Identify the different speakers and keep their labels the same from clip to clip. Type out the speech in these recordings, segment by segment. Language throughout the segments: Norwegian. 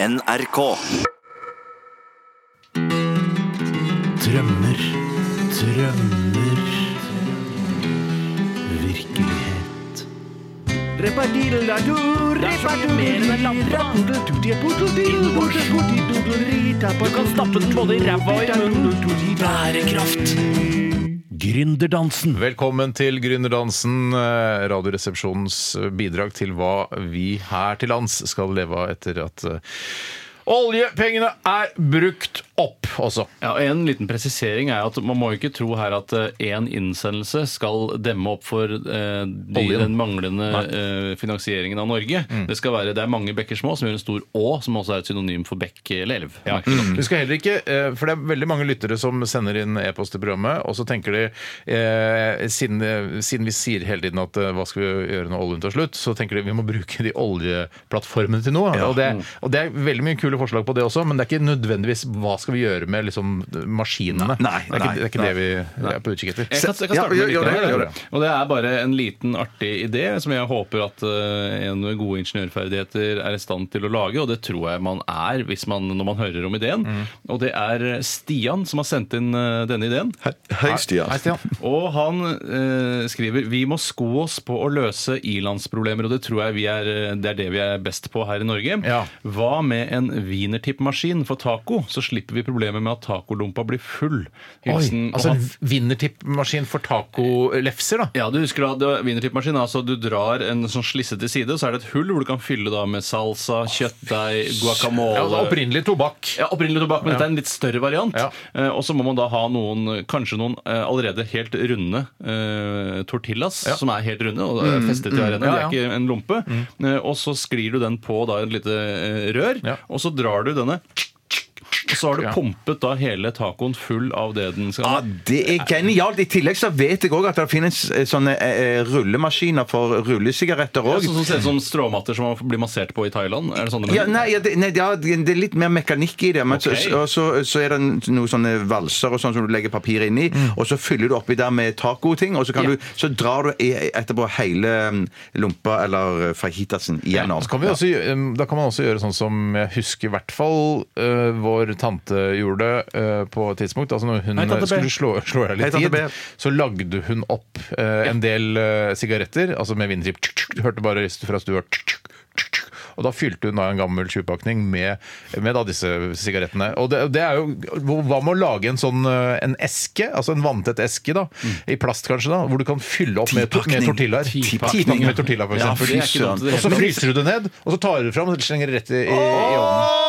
Speaker 1: NRK.
Speaker 2: Drømmer, drømmer Virkelighet
Speaker 3: Du kan stappe den både i ræva og i munnen. Bærekraft.
Speaker 2: Gründerdansen
Speaker 4: Velkommen til Gründerdansen, eh, Radioresepsjonens bidrag til hva vi her til lands skal leve av etter at eh, oljepengene er brukt opp også.
Speaker 3: Ja, og En liten presisering er at man må ikke tro her at én innsendelse skal demme opp for eh, de,
Speaker 4: Oljen.
Speaker 3: den manglende eh, finansieringen av Norge.
Speaker 1: Mm.
Speaker 3: Det skal være, det er mange bekker små som gjør en stor å, som også er et synonym for bekk eller elv. merkelig nok.
Speaker 4: Du skal heller ikke, eh, for Det er veldig mange lyttere som sender inn e-post til programmet, og så tenker de eh, siden, eh, siden vi sier hele tiden at eh, hva skal vi gjøre når oljen tar slutt, så tenker de vi må bruke de oljeplattformene til noe.
Speaker 1: Mm.
Speaker 4: Og, det, og det er veldig mye kule forslag på det også, men det er ikke nødvendigvis hva skal vi gjøre med liksom, maskinene.
Speaker 1: Nei,
Speaker 4: det er ikke, det er ikke
Speaker 1: nei,
Speaker 4: det vi er på utkikk etter.
Speaker 3: Jeg kan, jeg kan
Speaker 1: Ja,
Speaker 3: starte med
Speaker 1: gjør- gjør
Speaker 3: litt,
Speaker 1: det,
Speaker 3: ja.
Speaker 1: gjør det.
Speaker 3: Og det er bare en liten artig idé som jeg håper at eh, en med gode ingeniørferdigheter er i stand til å lage, og det tror jeg man er hvis man, når man hører om ideen.
Speaker 1: Mm.
Speaker 3: Og det er Stian som har sendt inn eh, denne ideen.
Speaker 5: Hei, Stian.
Speaker 4: Hei, Stian.
Speaker 3: Og han eh, skriver Vi må sko oss på å løse ilandsproblemer Og det tror jeg vi er, eh, det er det vi er best på her i Norge
Speaker 4: Ja.
Speaker 3: Hva med en wienertippmaskin for taco Så slipper vi problemet med at tacolumpa blir full Hilsen
Speaker 4: Oi, altså
Speaker 3: Johan.
Speaker 4: en vinnertippmaskin for tacolefser, da.
Speaker 3: ja, du husker da, det var wienertippmaskin, altså du drar en sånn slisse til side, så er det et hull hvor du kan fylle da med salsa, kjøttdeig, guacamole.
Speaker 4: Ja, altså opprinnelig tobakk.
Speaker 3: Ja, opprinnelig tobakk, men dette er en litt større variant.
Speaker 4: Ja.
Speaker 3: Eh, og så må man da ha noen, kanskje noen eh, allerede helt runde eh, tortillas, som er helt runde og mm, festet i hver ende.
Speaker 4: ja,
Speaker 3: Det er ikke en lompe. Eh, og så sklir du den på da et lite eh, rør,
Speaker 4: Ja.
Speaker 3: og så drar du denne og så har du
Speaker 4: Ja.
Speaker 3: pumpet da hele tacoen full av det den skal
Speaker 5: Ja,
Speaker 3: ha.
Speaker 5: Ah, det er genialt. I tillegg så vet jeg òg at det finnes eh, sånne eh, rullemaskiner for rullesigaretter
Speaker 3: Ja,
Speaker 5: òg.
Speaker 3: sånn som ser ut som stråmatter som man blir massert på i Thailand? Er det sånn det
Speaker 5: Ja, nei, ja, det, nei ja, det er litt mer mekanikk i det. Men så-
Speaker 3: Ok.
Speaker 5: så, og så, så er det noen sånne valser og sånn som du legger papir inni, og så fyller du oppi der med tacoting, og så, kan
Speaker 3: Mm. Ja.
Speaker 5: du, så drar du i- etterpå hele mm, lompa eller eh, fajitasen igjen.
Speaker 4: Så kan vi også, gjø- um, da kan man også gjøre sånn som jeg husker i hvert fall øh, vår tante gjorde øh, på et tidspunkt. Altså når hun
Speaker 3: Hei, tante B.
Speaker 4: skulle slå, slå i
Speaker 5: Hei,
Speaker 4: litt
Speaker 5: tante
Speaker 4: tid,
Speaker 5: B.
Speaker 4: så lagde hun opp øh, en del øh, sigaretter, altså med vindrip. Du hørte bare rist fra stua. Og da fylte hun da en gammel tjuvpakning med, med da disse sigarettene. Og det, det er jo, Hva med å lage en sånn øh, en eske, altså en vanntett eske, da, i plast kanskje, da, hvor du kan fylle opp med,
Speaker 5: Tipakning.
Speaker 4: med tortillaer?
Speaker 5: Tipakning,
Speaker 4: Tipakning
Speaker 5: ja.
Speaker 4: med tortilla, for
Speaker 3: Ja,
Speaker 4: eksempel.
Speaker 3: for det er ikke dumt, det er
Speaker 4: Og så
Speaker 3: helt-
Speaker 4: fryser du det ned, og så tar du det fram og slenger det rett i, i, i ovnen.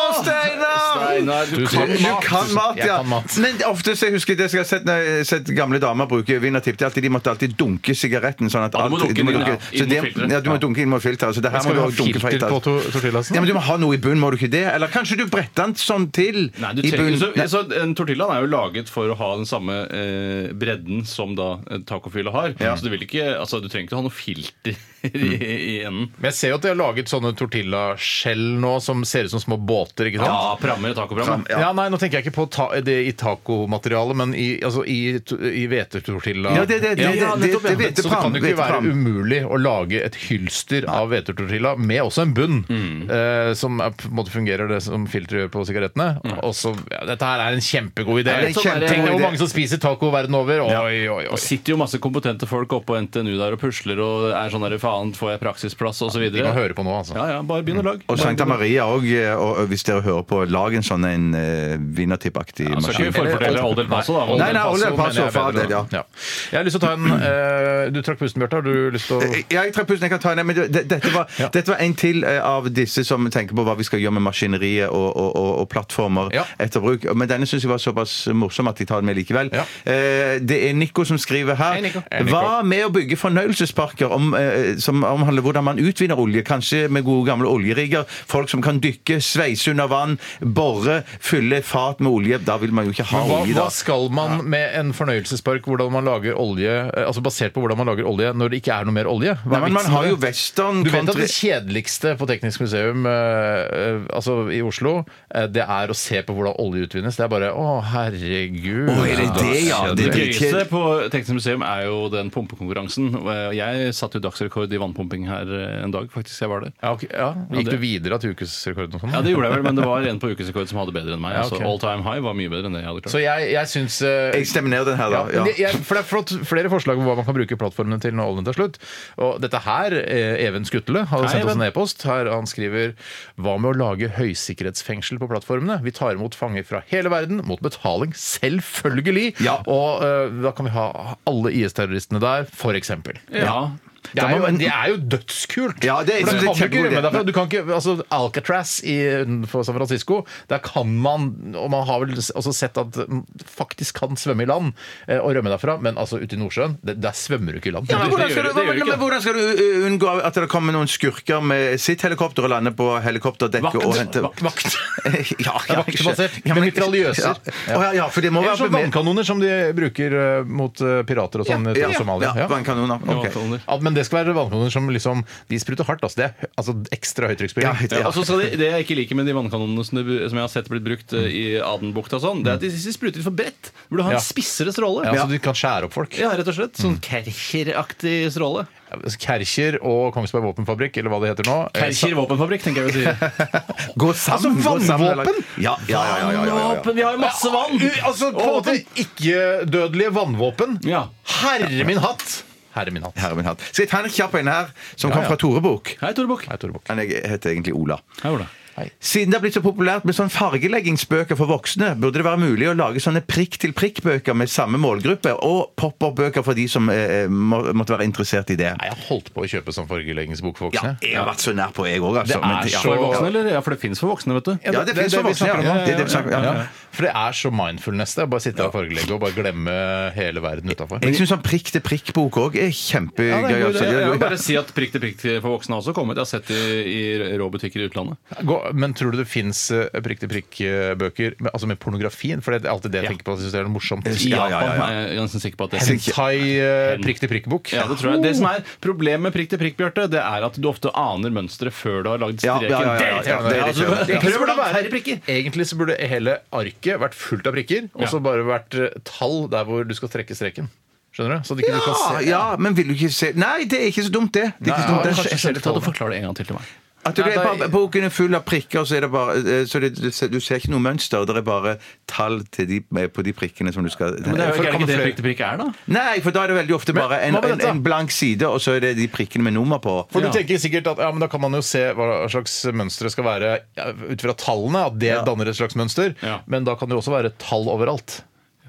Speaker 3: Nei, nei, du
Speaker 4: Du
Speaker 3: kan
Speaker 4: ser-
Speaker 5: Du
Speaker 4: mat.
Speaker 5: kan mat,
Speaker 4: Jeg
Speaker 5: ja.
Speaker 4: kan mat.
Speaker 5: Men det er ofte så jeg husker det jeg har sett, når jeg har sett gamle damer bruke vinnertipp. det er alltid- De måtte alltid dunke sigaretten. Sånn at
Speaker 3: Ja, du må
Speaker 5: alt-
Speaker 3: dunke den inn, ja.
Speaker 5: så
Speaker 3: Inn mot
Speaker 5: det,
Speaker 3: filteret.
Speaker 5: ja, du må dunke inn mot filteret. Så det her må
Speaker 4: Skal
Speaker 5: du
Speaker 4: vi ha
Speaker 5: også dunke fra
Speaker 4: filter på to- tortillasen?
Speaker 5: Ja, men du må ha noe i bunnen, må du ikke det? Eller kanskje du bretter den sånn til
Speaker 3: Nei, du
Speaker 5: i
Speaker 3: trenger,
Speaker 5: bunnen.
Speaker 3: så,
Speaker 5: Nei.
Speaker 3: så En tortilla er jo laget for å ha den samme eh, bredden som da eh, tacofylla har. Så du, vil ikke, altså, du trenger ikke ha noe filter i,
Speaker 5: Mm.
Speaker 3: i enden.
Speaker 4: Men jeg ser jo at de har laget sånne tortillaskjell nå som ser ut som små båter, ikke sant?
Speaker 3: Ja, prammer og tacoprammer.
Speaker 4: Ja. nei, nå tenker jeg ikke på ta det i tacomaterialet, men i, altså i, to- i hvetetortilla.
Speaker 5: Ja, det- det- det- det-
Speaker 4: Ja,
Speaker 5: det-
Speaker 4: nettopp, ja.
Speaker 5: det- det-
Speaker 4: Så det kan jo ikke
Speaker 5: hvetepram.
Speaker 4: være umulig å lage et hylster av hvetetortilla med også en bunn,
Speaker 5: Mm.
Speaker 4: eh, som er, på en måte fungerer det som filteret gjør på sigarettene. Og så, ja, dette her er en kjempegod idé.
Speaker 5: Mm. Ja, det er en
Speaker 4: Sånn er det. Tenk deg
Speaker 5: kjempegod
Speaker 4: hvor
Speaker 5: idé.
Speaker 4: mange som spiser taco verden over. Oi, oi,
Speaker 3: Og
Speaker 4: oi.
Speaker 3: sitter jo masse kompetente folk oppe på NTNU der og pusler og er sånn der, faen, får jeg praksisplass osv.
Speaker 4: Vi må
Speaker 3: Ja,
Speaker 4: høre på nå, altså.
Speaker 3: ja, bare begynn å lage.
Speaker 5: Og Sankta
Speaker 3: Bare begynn å-
Speaker 5: Maria òg, og hvis dere hører på, lag en sånn en uh, vinnertippaktig
Speaker 3: Så skal
Speaker 5: maskin.
Speaker 3: vi forfordele Old El Paso, da.
Speaker 5: Nei, nei, Old El
Speaker 4: mener jeg
Speaker 5: Paso,
Speaker 4: er
Speaker 5: for all
Speaker 4: bedre.
Speaker 5: del, ja.
Speaker 4: Jeg har lyst til å ta en eh, Du trakk pusten, Bjarte. Har du lyst til å
Speaker 5: Ja, jeg trakk pusten. Jeg kan ta en, men det, det- dette, var, dette var en til eh, av disse som tenker på hva vi skal gjøre med maskineriet og, og, og, og plattformer
Speaker 4: Ja.
Speaker 5: etter bruk. Men denne syns jeg var såpass morsom at jeg tar den med likevel.
Speaker 4: Ja.
Speaker 5: Eh, Det er Nico som skriver her.
Speaker 4: Hei, Nico. Hei, Nico.
Speaker 5: Hva med å bygge fornøyelsesparker om, eh, som omhandler hvordan man utvinner olje? Kanskje med gode gamle oljerigger? Folk som kan dykke, sveise under vann, borre, fylle fat med olje. Da vil man jo ikke ha
Speaker 4: Men hva,
Speaker 5: olje,
Speaker 4: hva
Speaker 5: da.
Speaker 4: skal man med en fornøyelsespark hvordan man lager olje, eh, altså basert på hvordan man lager olje når det ikke er noe mer olje? Hva
Speaker 5: Nei,
Speaker 4: er
Speaker 5: men man
Speaker 4: vitsen med
Speaker 5: har jo
Speaker 4: det?
Speaker 5: western
Speaker 4: Du vet at
Speaker 5: country-
Speaker 4: det kjedeligste på Teknisk museum eh, eh, altså i Oslo, eh, det er å se på hvordan olje utvinnes. Det er bare å, herregud. altså.»
Speaker 5: Å, er det det, ja?
Speaker 4: skjedde
Speaker 5: Det
Speaker 3: Det
Speaker 5: er dritkjedelig.
Speaker 3: gøyeste på Teknisk museum er jo den pumpekonkurransen. Jeg satte jo dagsrekord i vannpumping her eh, en dag, faktisk. Jeg var der.
Speaker 4: Ja, ok, ja.
Speaker 3: Ja,
Speaker 4: Gikk
Speaker 3: det-
Speaker 4: du videre til ukesrekorden? og sånn?
Speaker 3: Ja, det gjorde jeg vel, men det var en på ukesrekord som hadde bedre enn meg.
Speaker 4: Ja,
Speaker 3: altså,
Speaker 4: ok.
Speaker 3: all time high var mye bedre enn det jeg hadde klart.
Speaker 4: Så jeg, jeg syns eh,
Speaker 5: Jeg stemmer ned den her, da.
Speaker 4: Ja,
Speaker 5: Ja.
Speaker 4: men det- Jeg, for det er flott, flere forslag om hva man kan bruke plattformene til når oljen tar slutt. Og dette her, eh, Even Skutle har
Speaker 3: Hei,
Speaker 4: sendt oss en
Speaker 3: Even.
Speaker 4: e-post. Her Han skriver Hva med å lage høysikkerhetsfengsel på plattformene? Vi tar imot fanger fra hele verden mot betaling, selvfølgelig!
Speaker 5: Ja.
Speaker 4: Og eh, da kan vi ha alle IS-terroristene der, for eksempel.
Speaker 3: Ja.
Speaker 4: Det er,
Speaker 5: Ja,
Speaker 4: jo,
Speaker 5: men-
Speaker 4: det er jo dødskult!
Speaker 5: Ja, det-
Speaker 4: For kan
Speaker 5: jeg synes det er
Speaker 4: du, ikke
Speaker 5: kjempegod
Speaker 4: rømme
Speaker 5: idé.
Speaker 4: derfra. du kan ikke, altså Alcatraz i, utenfor San Francisco, der kan man, og man har vel også sett at man faktisk kan svømme i land eh, og rømme derfra, men altså ute i Nordsjøen, det- der svømmer du ikke i land.
Speaker 5: Ja, men
Speaker 3: det
Speaker 5: hvordan
Speaker 3: gjør-
Speaker 5: skal, du,
Speaker 3: det gjør
Speaker 5: men,
Speaker 3: ikke.
Speaker 5: men hvordan skal du uh, unngå at det kommer noen skurker med sitt helikopter og lander på helikopterdekket og henter
Speaker 4: Vakt, vakt.
Speaker 5: ja,
Speaker 4: Det er
Speaker 5: ja,
Speaker 4: vaktbasert,
Speaker 5: ikke- Ja, men-
Speaker 4: med mitraljøser.
Speaker 5: Ja. Å, ja, ja, for det må
Speaker 4: Eller
Speaker 5: være
Speaker 4: sånn vannkanoner som de bruker eh, mot eh, pirater og sånn
Speaker 5: Ja,
Speaker 4: eh, til
Speaker 5: ja,
Speaker 4: Somalia. Ja.
Speaker 5: Ja, vannkanoner. ok.
Speaker 3: Vannkanoner.
Speaker 4: Ja, men det skal være vannkanoner som liksom De spruter hardt, altså. Det er hø- altså, ekstra
Speaker 5: Ja,
Speaker 4: høytrykksspyling.
Speaker 5: ja.
Speaker 3: Ja, og Altså, så skal de, det jeg ikke liker med de vannkanonene som, det, som jeg har sett blitt brukt eh, i Adenbukta, og sånn, det er at de, de spruter ut for bredt. Du Burde ha en
Speaker 4: Ja.
Speaker 3: spissere stråle.
Speaker 4: Ja,
Speaker 3: Ja.
Speaker 4: så du kan skjære opp folk.
Speaker 3: rett og slett. Sånn Kercher-aktig stråle.
Speaker 4: Kerkjer og Kongsberg Våpenfabrikk, eller hva det heter nå. eh,
Speaker 3: Kercher våpenfabrikk, tenker jeg vi sier.
Speaker 5: Gå
Speaker 4: Altså,
Speaker 5: sammen! gå sammen,
Speaker 4: vannvåpen?
Speaker 5: eller- Ja, ja, ja. ja, ja, ja, ja.
Speaker 3: Våpen, vi har jo masse vann!
Speaker 4: U- Altså, på en måte ikke-dødelige vannvåpen.
Speaker 3: Ja.
Speaker 4: Herre min hatt! Herre min hatt.
Speaker 5: Herre min hatt. Skal jeg ta en kjapp en her, som
Speaker 4: Ja,
Speaker 5: kom
Speaker 4: ja.
Speaker 5: fra Tore Bukk?
Speaker 3: Hei, Tore Bukk.
Speaker 4: Nei, Tore Bukk.
Speaker 5: Men jeg heter egentlig Ola.
Speaker 3: Hei, Ola.
Speaker 5: Siden det har blitt så populært med sånn fargeleggingsbøker for voksne, burde det være mulig å lage sånne prikk-til-prikk-bøker med samme målgruppe, og pop-up-bøker for de som eh, må, måtte være interessert i det.
Speaker 4: Nei, jeg holdt på å kjøpe sånn fargeleggingsbok for
Speaker 5: Ja,
Speaker 4: voksne.
Speaker 5: jeg har vært så nær på, jeg òg,
Speaker 4: Det
Speaker 5: altså.
Speaker 4: er
Speaker 5: men- ja.
Speaker 4: så-
Speaker 3: For voksne, eller? Ja, for det fins for voksne, vet du.
Speaker 5: Ja, det finnes for
Speaker 4: vi
Speaker 5: voksne,
Speaker 4: snakker om
Speaker 5: ja.
Speaker 4: nå.
Speaker 5: Det er det vi snakker om, ja.
Speaker 4: For det er så mindfulness, det. Bare sitte og fargelegge og bare glemme hele verden utafor.
Speaker 5: Jeg syns sånn prikk-til-prikk-bok òg er
Speaker 4: Ja,
Speaker 5: kjempegøy.
Speaker 4: det er en god idé,
Speaker 5: altså. Det er-
Speaker 3: Jeg vil bare si at prikk til prikk til for voksne har også kommet. Jeg har sett det i i rå butikker i utlandet.
Speaker 4: Gå- Men tror du det eh, fins prikk-til-prikk-bøker med, altså med pornografien? For det er alltid det jeg tenker på. Jeg synes det er noe morsomt. eh,
Speaker 3: I
Speaker 5: Ja, ja, ja, ja.
Speaker 3: Japan er jeg ganske sikker på at det
Speaker 4: Hentai-prikk-til-prikk-bok.
Speaker 3: Ja, det tror jeg. Det som er Problemet med prikk til prikk, Bjarte, det er at du ofte aner mønsteret før du har lagd
Speaker 5: Ja,
Speaker 3: streken.
Speaker 5: ja, ja, ja, ja, ja, det er
Speaker 3: altså,
Speaker 5: riktig, ja.
Speaker 4: Egentlig så burde det
Speaker 3: prøv å lage
Speaker 4: være-
Speaker 3: færre prikker.
Speaker 4: Egentlig så burde hele arket vært fullt av prikker, og så bare vært eh, tall der hvor du skal trekke streken. Skjønner du? Så at ikke du kan
Speaker 5: Ja,
Speaker 4: se
Speaker 5: ja, men vil du ikke se Nei, det er ikke så dumt, det. det er ikke så dumt, det.
Speaker 3: Kanskje jeg skal ta det og forklare det en gang til til meg.
Speaker 5: At du,
Speaker 4: Nei,
Speaker 5: det er
Speaker 4: da-
Speaker 5: bare, boken er full av prikker, så, er det bare, eh, så det, du, ser, du ser ikke noe mønster. Det er bare tall til de, på de prikkene som du skal
Speaker 3: Men det er
Speaker 4: For
Speaker 3: jo
Speaker 4: det
Speaker 3: ikke, er det ikke det
Speaker 4: kommer
Speaker 3: prikk til prikk er, da.
Speaker 5: Nei, for da er det veldig ofte bare en,
Speaker 4: hva med
Speaker 5: en,
Speaker 4: dette?
Speaker 5: en blank side, og så er det de prikkene med nummer på.
Speaker 4: For
Speaker 3: Ja.
Speaker 4: du tenker sikkert at ja, men da kan man jo se hva slags mønster det skal være ja, ut fra tallene. At det danner et slags mønster.
Speaker 3: Ja.
Speaker 4: Men da kan det jo også være tall overalt.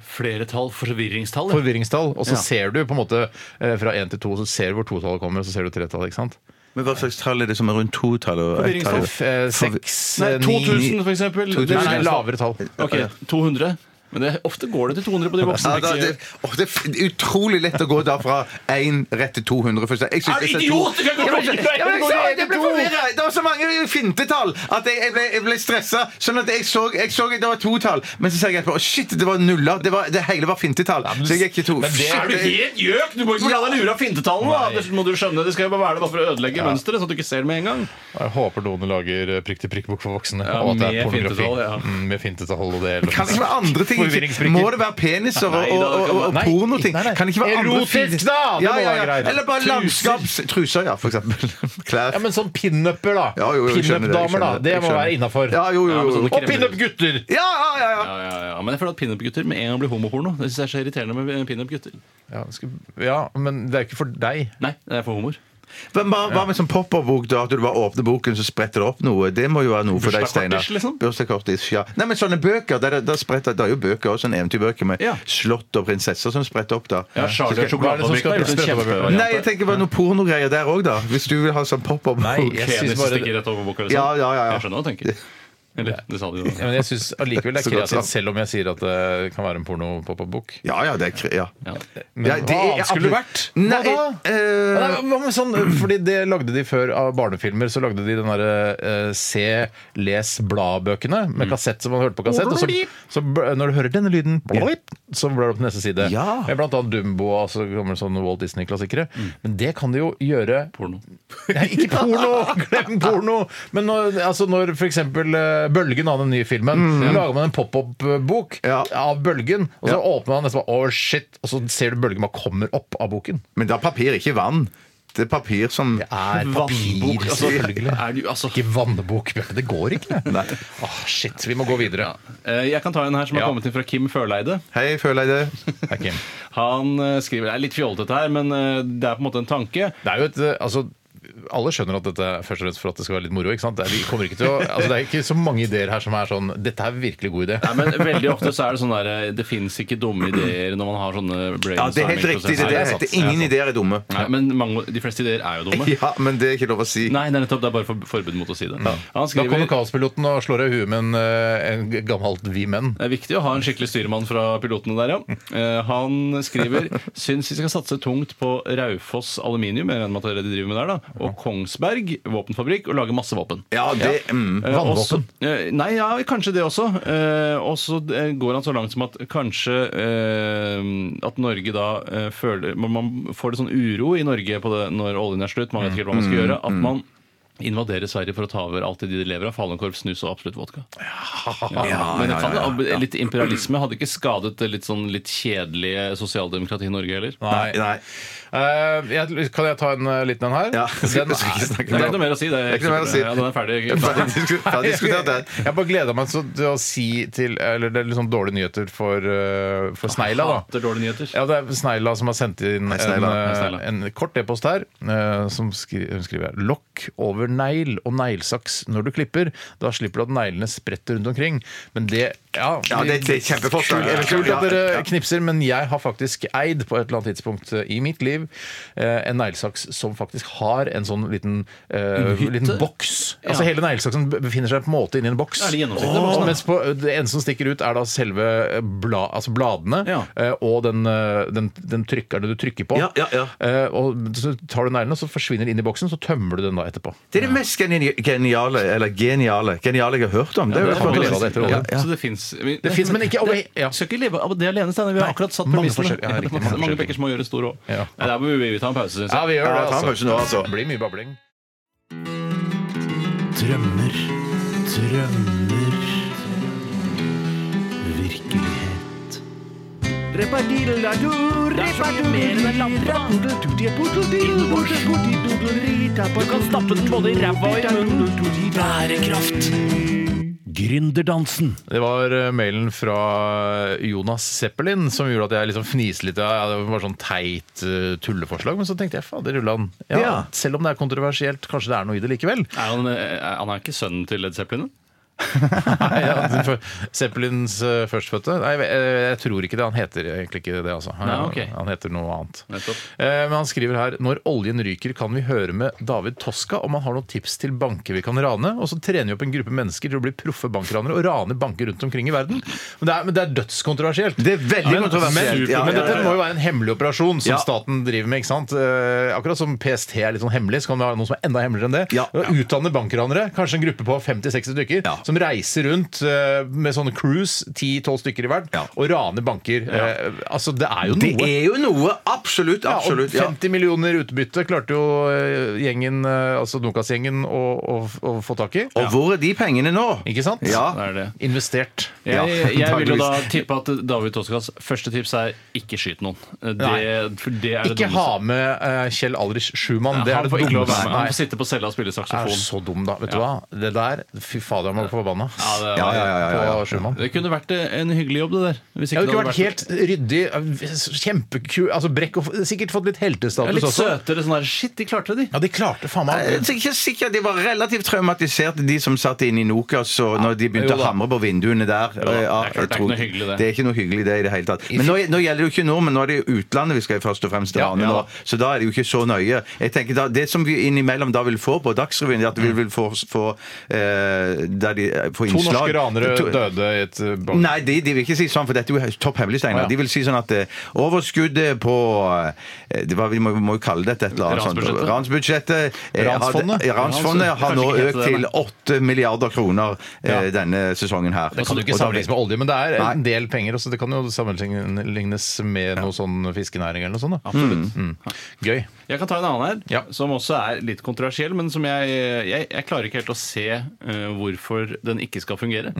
Speaker 3: Flere tall, forvirringstall.
Speaker 4: Forvirringstall. Og så
Speaker 3: Ja.
Speaker 4: ser du på en måte eh, fra én til to, så ser du hvor totallet kommer, og så ser du tretallet. ikke sant?
Speaker 5: Men hva slags tall er det som er rundt totallet? og
Speaker 3: Forvirringstall.
Speaker 5: ettallet?
Speaker 4: Eh, Seks,
Speaker 3: Nei,
Speaker 4: eh, ni
Speaker 3: 2000 for eksempel. Det
Speaker 4: Nei,
Speaker 3: er-
Speaker 4: nei, lavere tall.
Speaker 3: Ok, 200. Men det, ofte går det til 200 på de voksne.
Speaker 5: Ja, da, det, åh, det er utrolig lett å gå da fra 1 rett til 200. For jeg synes
Speaker 3: Er du
Speaker 5: det
Speaker 3: idiot? Du kan gå
Speaker 5: Ja, men-
Speaker 3: fra en til
Speaker 5: ja, men jeg
Speaker 3: to.
Speaker 5: sa- jeg ble forvirret! Det var så mange fintetall at jeg, jeg ble, jeg ble stressa. Sånn at jeg så, jeg så at det var totall, men så sa jeg etterpå «Å, shit, det var nuller. Det, var, det hele var fintetall. Så jeg gikk i to.
Speaker 4: men det er
Speaker 3: Er du
Speaker 5: Shit,
Speaker 3: helt gjøk? Du må ikke la deg lure av fintetallene! da. Det må du skjønne. Det skal jo bare være det bare for å ødelegge mønsteret, sånn at du ikke ser det med en gang.
Speaker 4: Jeg håper noen lager eh, prikk-til-prikk-bok for voksne.
Speaker 3: Ja,
Speaker 4: og at det
Speaker 3: med
Speaker 4: er pornografi.
Speaker 3: fintetall, ja.
Speaker 4: Mm, med fintetall og det hele.
Speaker 5: Kan det ikke være andre ting?
Speaker 4: Forvirringsbrikker.
Speaker 5: Må det være peniser og,
Speaker 3: Nei, da, det
Speaker 5: og,
Speaker 3: kan
Speaker 5: og, og
Speaker 4: være- Nei,
Speaker 5: pornoting?
Speaker 4: nei, nei.
Speaker 5: Kan det ikke være andre
Speaker 4: Erotisk,
Speaker 5: fint-
Speaker 4: da! Det
Speaker 5: Ja,
Speaker 4: må
Speaker 5: ja,
Speaker 4: være
Speaker 5: ja.
Speaker 4: greit.
Speaker 5: Eller bare
Speaker 4: Truser.
Speaker 5: landskaps... Truser, ja, for eksempel. Klær.
Speaker 4: Ja, men sånn pinup-er, da.
Speaker 5: Ja, jo, jo, jeg skjønner det, jeg
Speaker 4: Pinup-damer, da.
Speaker 5: skjønner
Speaker 4: Det
Speaker 5: jeg
Speaker 4: må
Speaker 5: skjønner.
Speaker 4: være innafor. sånn
Speaker 5: Ja, jo, jo,
Speaker 3: Ja, men
Speaker 5: jo.
Speaker 3: sånne
Speaker 4: Og
Speaker 3: kremer-
Speaker 4: pinup-gutter!
Speaker 5: Ja, ja, ja, ja.
Speaker 3: Ja, ja, ja. Men jeg føler at pinup-gutter med en gang blir homoporno. Det synes jeg er så irriterende med pinup-gutter.
Speaker 4: Ja, skal- ja, men det er ikke for deg.
Speaker 3: Nei, det er for humor.
Speaker 5: Men hva, hva med sånn pop-up-bok, da? At du bare åpner boken, så spretter det opp noe? Det må jo være noe for deg, Steinar.
Speaker 3: Bursdagskortis, liksom?
Speaker 5: Bursdagskortis, ja. Nei, men sånne bøker, der, der spretter, det er jo bøker også, sånne eventyrbøker med
Speaker 3: Ja.
Speaker 5: slott og prinsesser som spretter opp, da.
Speaker 3: Ja, Charlie og
Speaker 4: hva er det som
Speaker 3: sjokoladefabrikken har gjort en
Speaker 4: skal-
Speaker 3: kjempevariant.
Speaker 5: Nei, jeg tenker bare noe pornogreier der òg, da. Hvis du vil ha sånn pop-up-bok.
Speaker 4: Nei, jeg
Speaker 3: Penis
Speaker 4: synes
Speaker 3: som
Speaker 4: bare-
Speaker 3: stikker rett over boka, liksom.
Speaker 5: Ja, ja, ja, ja.
Speaker 3: Jeg skjønner hva du tenker. Eller, det sa de
Speaker 4: Ja,
Speaker 3: jo.
Speaker 4: men jeg synes allikevel det er
Speaker 5: Så godt
Speaker 4: kreativt,
Speaker 5: sagt.
Speaker 4: selv om jeg sier at det kan være en porno-pop-up-bok.
Speaker 5: Ja, ja, det er kre- ja.
Speaker 3: Ja.
Speaker 4: Men
Speaker 5: Ja, det
Speaker 4: hva
Speaker 5: er
Speaker 4: annet skulle det vært?
Speaker 5: absolutt- Nei,
Speaker 4: hva da?
Speaker 5: eh,
Speaker 4: Ja, nei, hva med sånn, fordi det lagde de før av barnefilmer. Så lagde de den derre eh, Se, les, bla-bøkene
Speaker 5: Mm.
Speaker 4: med kassett som man hørte på kassett. Og så, så bl- når du hører denne lyden, blip, så blar du opp til neste side.
Speaker 5: Ja. Mm.
Speaker 4: Med blant annet Dumbo og så kommer det sånne Walt Disney-klassikere. Men det kan de jo gjøre
Speaker 3: Porno.
Speaker 4: Nei, ikke porno! Glem porno! Men når, altså når f.eks. Bølgen av den nye filmen, lager man en pop-opp-bok
Speaker 5: Mm. Ja.
Speaker 4: av Bølgen, og så åpner man nesten bare Å, shit! Og så ser du Bølgen bare kommer opp av boken.
Speaker 5: Men det er papir, ikke vann. Det er papir som
Speaker 4: Det er
Speaker 5: Vannbok,
Speaker 4: papir,
Speaker 5: altså.
Speaker 4: selvfølgelig.
Speaker 3: Er du, altså,
Speaker 4: Ikke vannbok, Bjarte. Det går ikke, det. Åh, shit. Vi må gå videre.
Speaker 3: eh, jeg kan ta en her som har kommet inn fra Kim Førleide.
Speaker 5: Hei, føler jeg det?
Speaker 4: Det er, Kim.
Speaker 3: Han eh, skriver Det er litt fjollete dette her, men eh, det er på en måte en tanke.
Speaker 4: Det er jo et eh, altså, alle skjønner at dette er først og fremst for at det skal være litt moro. ikke sant? Det er, vi kommer ikke til å, altså, det er ikke så mange ideer her som er sånn Dette er virkelig god idé.
Speaker 3: Nei, men Veldig ofte så er det sånn der eh, Det fins ikke dumme ideer når man har sånne
Speaker 5: Ja, det er helt riktig.
Speaker 3: brainstorming-prosesser.
Speaker 5: Det, det
Speaker 4: er
Speaker 5: er
Speaker 4: sant.
Speaker 5: rett. Ingen ideer er dumme.
Speaker 3: Nei, men mange, de fleste ideer er jo dumme.
Speaker 5: Ja, men det er ikke lov å si.
Speaker 3: Nei, det er nettopp, det er bare for, forbud mot å si det. Han
Speaker 4: Da kommer
Speaker 3: skriver
Speaker 4: kaospiloten og slår deg i huet med en, eh, en gammelt vi menn.
Speaker 3: det er viktig å ha en skikkelig styrmann fra pilotene der, ja. Eh, han skriver syns vi skal satse tungt på Raufoss Aluminium, jeg regner med at det er det de driver med der, da, og Kongsberg våpenfabrikk, og lage masse våpen.
Speaker 5: Ja, det mm.
Speaker 3: Eh,
Speaker 4: Vannvåpen.
Speaker 3: også- eh, Nei, ja, kanskje det også. Eh, Og så eh, går han så langt som at kanskje eh, at Norge da eh, føler Man man får litt sånn uro i Norge på det når oljen er slutt, man vet ikke helt hva man skal gjøre. At man invaderer Sverige for å ta over alt det de lever av. Falukorv, snus og absolutt vodka. Ja, men det kan, litt imperialisme hadde ikke skadet det litt sånn litt kjedelige sosialdemokratiet i Norge heller.
Speaker 5: Nei. Nei.
Speaker 4: Eh, jeg, kan jeg ta en eh, liten en her?
Speaker 5: Ja.
Speaker 4: Den
Speaker 5: Jeg skal ikke snakke
Speaker 3: Det er
Speaker 5: mer
Speaker 3: ikke noe mer
Speaker 5: om
Speaker 3: å si. Det er,
Speaker 5: Det er ikke noe mer å si.
Speaker 3: Ja, den er ferdig.
Speaker 5: Ferdig disku- ferdig diskutert det.
Speaker 4: Jeg bare gleder meg så til å si til Eller det er litt sånn dårlige nyheter for, eh, for snegla, da.
Speaker 3: Hater dårlige nyheter.
Speaker 4: Ja, det er Sneila som har sendt inn en,
Speaker 5: Sneila.
Speaker 4: eh,
Speaker 3: Hei, Sneila.
Speaker 4: en kort e-post her. eh, Som skri, hun skriver her Lokk over negl og neglesaks når du klipper. Da slipper du at neglene spretter rundt omkring. Men det Ja,
Speaker 5: Ja, det, det er et kjempeforslag. Jeg vet ikke-
Speaker 4: Kult at
Speaker 5: Ja,
Speaker 4: dere
Speaker 5: ja.
Speaker 4: knipser, men jeg har faktisk eid på et eller annet tidspunkt eh, i mitt liv eh, en neglesaks som faktisk har en sånn liten, eh, liten boks. Altså
Speaker 3: Ja.
Speaker 4: Hele neglesaksen be- befinner seg på en måte inni en boks.
Speaker 3: Ja, det er gjennomsiktig, den boksen, da.
Speaker 4: mens på, eh, det eneste som stikker ut, er da selve bla, altså bladene
Speaker 3: Ja.
Speaker 4: eh, og den, eh, den, den trykkeren du trykker på.
Speaker 5: Ja, ja, ja.
Speaker 4: Eh, og så tar du neglene, og så forsvinner den inn i boksen, så tømmer du den da etterpå.
Speaker 5: Det er det mest geni- geniale, eller geniale, geniale jeg har hørt om. Det er jo
Speaker 4: det kan vi
Speaker 5: fantastisk.
Speaker 4: leve av det etter oljen.
Speaker 5: Ja, ja.
Speaker 3: Så det fins
Speaker 4: Det
Speaker 3: sånn-
Speaker 4: fins, men ikke over ja.
Speaker 3: Skal ikke leve av det alene, Steinar. Vi har akkurat satt
Speaker 4: mange
Speaker 3: premissene.
Speaker 4: forskjell- ja, riktig, mange
Speaker 3: mange
Speaker 4: forskjellige
Speaker 3: bekker små gjør en stor òg.
Speaker 4: Ja.
Speaker 3: Der må vi vi ta en pause, syns
Speaker 4: Ja, vi
Speaker 3: jeg.
Speaker 4: gjør det,
Speaker 5: Ja, ta en pause nå, altså.
Speaker 4: Det blir mye babling.
Speaker 2: Drømmer, drømmer Virkelighet
Speaker 1: Du kan stappe den både i ræva og i munnen. Bærekraft.
Speaker 2: Gründerdansen
Speaker 4: Det var eh, mailen fra Jonas Zeppelin som gjorde at jeg liksom fniste litt. Ja, det var sånn teit eh, tulleforslag, men så tenkte jeg fader rullan. Ja,
Speaker 5: Ja.
Speaker 4: Selv om det er kontroversielt, kanskje det er noe i det likevel.
Speaker 3: Er han, eh, han er ikke sønnen til Led Zeppelin?
Speaker 4: Nei, ja, den fø- Zeppelins eh, førstfødte? Nei, jeg, eh, jeg tror ikke det. Han heter egentlig ikke det, altså. Han,
Speaker 3: Nei, ok.
Speaker 4: han heter noe annet.
Speaker 3: Nettopp.
Speaker 4: Eh, Men han skriver her Når oljen ryker, kan vi høre med David Toska om han har noen tips til banker vi kan rane. Og så trener vi opp en gruppe mennesker til å bli proffe bankranere og rane banker rundt omkring i verden. Men det er, men det er dødskontroversielt.
Speaker 5: Det er veldig
Speaker 4: men,
Speaker 5: kontroversielt.
Speaker 4: Men,
Speaker 5: Ja,
Speaker 4: men
Speaker 5: ja, ja,
Speaker 4: dette
Speaker 5: ja.
Speaker 4: må jo være en hemmelig operasjon som
Speaker 5: Ja.
Speaker 4: staten driver med. ikke sant? Eh, Akkurat som PST er litt sånn hemmelig, så kan det være noe som er enda hemmeligere enn det.
Speaker 5: Ja.
Speaker 4: Å Utdanne bankranere, kanskje en gruppe på 50-60 stykker,
Speaker 5: Ja.
Speaker 4: som reiser rundt eh, med sånne cruise, 10-12 stykker i verden,
Speaker 5: Ja.
Speaker 4: og raner banker. Eh, Altså, det er jo noe.
Speaker 5: Det er jo noe. Absolutt.
Speaker 4: Ja, og
Speaker 5: absolutt. Ja.
Speaker 4: 50 millioner utbytte klarte jo eh, gjengen, eh, altså Nokas-gjengen å, å, å få tak i.
Speaker 5: Og hvor er de pengene nå?
Speaker 4: Ikke sant?
Speaker 5: Ja.
Speaker 3: Det er det.
Speaker 4: Investert.
Speaker 5: Ja,
Speaker 3: Jeg, jeg vil jo da
Speaker 5: antageligvis.
Speaker 3: tippe at David Toskas første tips er ikke skyt noen.
Speaker 4: Nei.
Speaker 3: Det, for det er det
Speaker 4: Ikke
Speaker 3: dummeste.
Speaker 4: ha med eh, Kjell Alrich Schumann. det er
Speaker 3: han
Speaker 4: det
Speaker 3: får ikke lov å
Speaker 4: dummeste.
Speaker 3: være med.
Speaker 4: Nei.
Speaker 3: Han får sitte på cella og spille
Speaker 4: er
Speaker 3: saksofon.
Speaker 4: så dum, da. Vet du hva? Det der Fy fader, jeg må bli forbanna.
Speaker 3: Ja, det,
Speaker 5: Ja, ja, ja, ja, ja.
Speaker 4: På Schumann.
Speaker 3: det kunne vært eh, en hyggelig jobb, det der. Hvis
Speaker 4: Jeg hadde ikke
Speaker 3: det
Speaker 4: vært helt ryddig, kjempekul altså Brekk og sikkert fått litt
Speaker 3: Ja,
Speaker 4: heltestatus
Speaker 3: Litt
Speaker 4: også.
Speaker 3: søtere sånn der Shit, de klarte det, de.
Speaker 4: Ja, de klarte faen meg
Speaker 5: Jeg er ikke sikker, De var relativt traumatiserte, de som satt inne i Nokas og når de begynte
Speaker 4: Jo da.
Speaker 5: å hamre på vinduene der. eh,
Speaker 3: da, det er
Speaker 5: Ja,
Speaker 3: klart,
Speaker 5: jeg
Speaker 3: det er
Speaker 5: tror-
Speaker 3: ikke noe hyggelig, det.
Speaker 5: Det er ikke noe hyggelig det i det hele tatt. Men nå, nå gjelder det jo ikke nordmenn, nå er det jo utlandet vi skal først og fremst
Speaker 4: Ja,
Speaker 5: rane
Speaker 4: ja da.
Speaker 5: nå. Så da er det jo ikke så nøye. Jeg tenker da, Det som vi innimellom da vil få på Dagsrevyen, er at vi vil få, få eh, der de eh, få
Speaker 4: To
Speaker 5: innslag.
Speaker 4: norske ranere
Speaker 5: To-
Speaker 4: døde i et eh, bak-
Speaker 5: Nei, de, de vil ikke si sånn, for dette er jo topp hemmelig, Steinar.
Speaker 4: Å, ja.
Speaker 5: De vil si sånn at eh, overskuddet på eh, det var, Vi må, må jo kalle dette et eller annet sånt.
Speaker 3: Ransbudsjettet.
Speaker 5: Ransbudsjettet. eh,
Speaker 4: Ransfondet?
Speaker 5: hadde- ja, Ransfondet har nå
Speaker 3: Kanskje ikke
Speaker 5: økt
Speaker 3: heter det,
Speaker 5: til 8 milliarder kroner eh,
Speaker 4: Ja.
Speaker 5: denne sesongen her.
Speaker 4: Det kan jo ikke
Speaker 5: Og da-
Speaker 4: sammenlignes med olje, men det er en
Speaker 5: Nei.
Speaker 4: del penger. Også. Det kan jo sammenlignes med noe sånn fiskenæring eller noe sånt. Da. Mm.
Speaker 3: Absolutt.
Speaker 4: Gøy.
Speaker 3: Jeg kan ta en annen her,
Speaker 4: Ja.
Speaker 3: som også er litt kontroversiell, men som jeg, jeg, jeg klarer ikke helt å se eh, hvorfor den ikke skal fungere.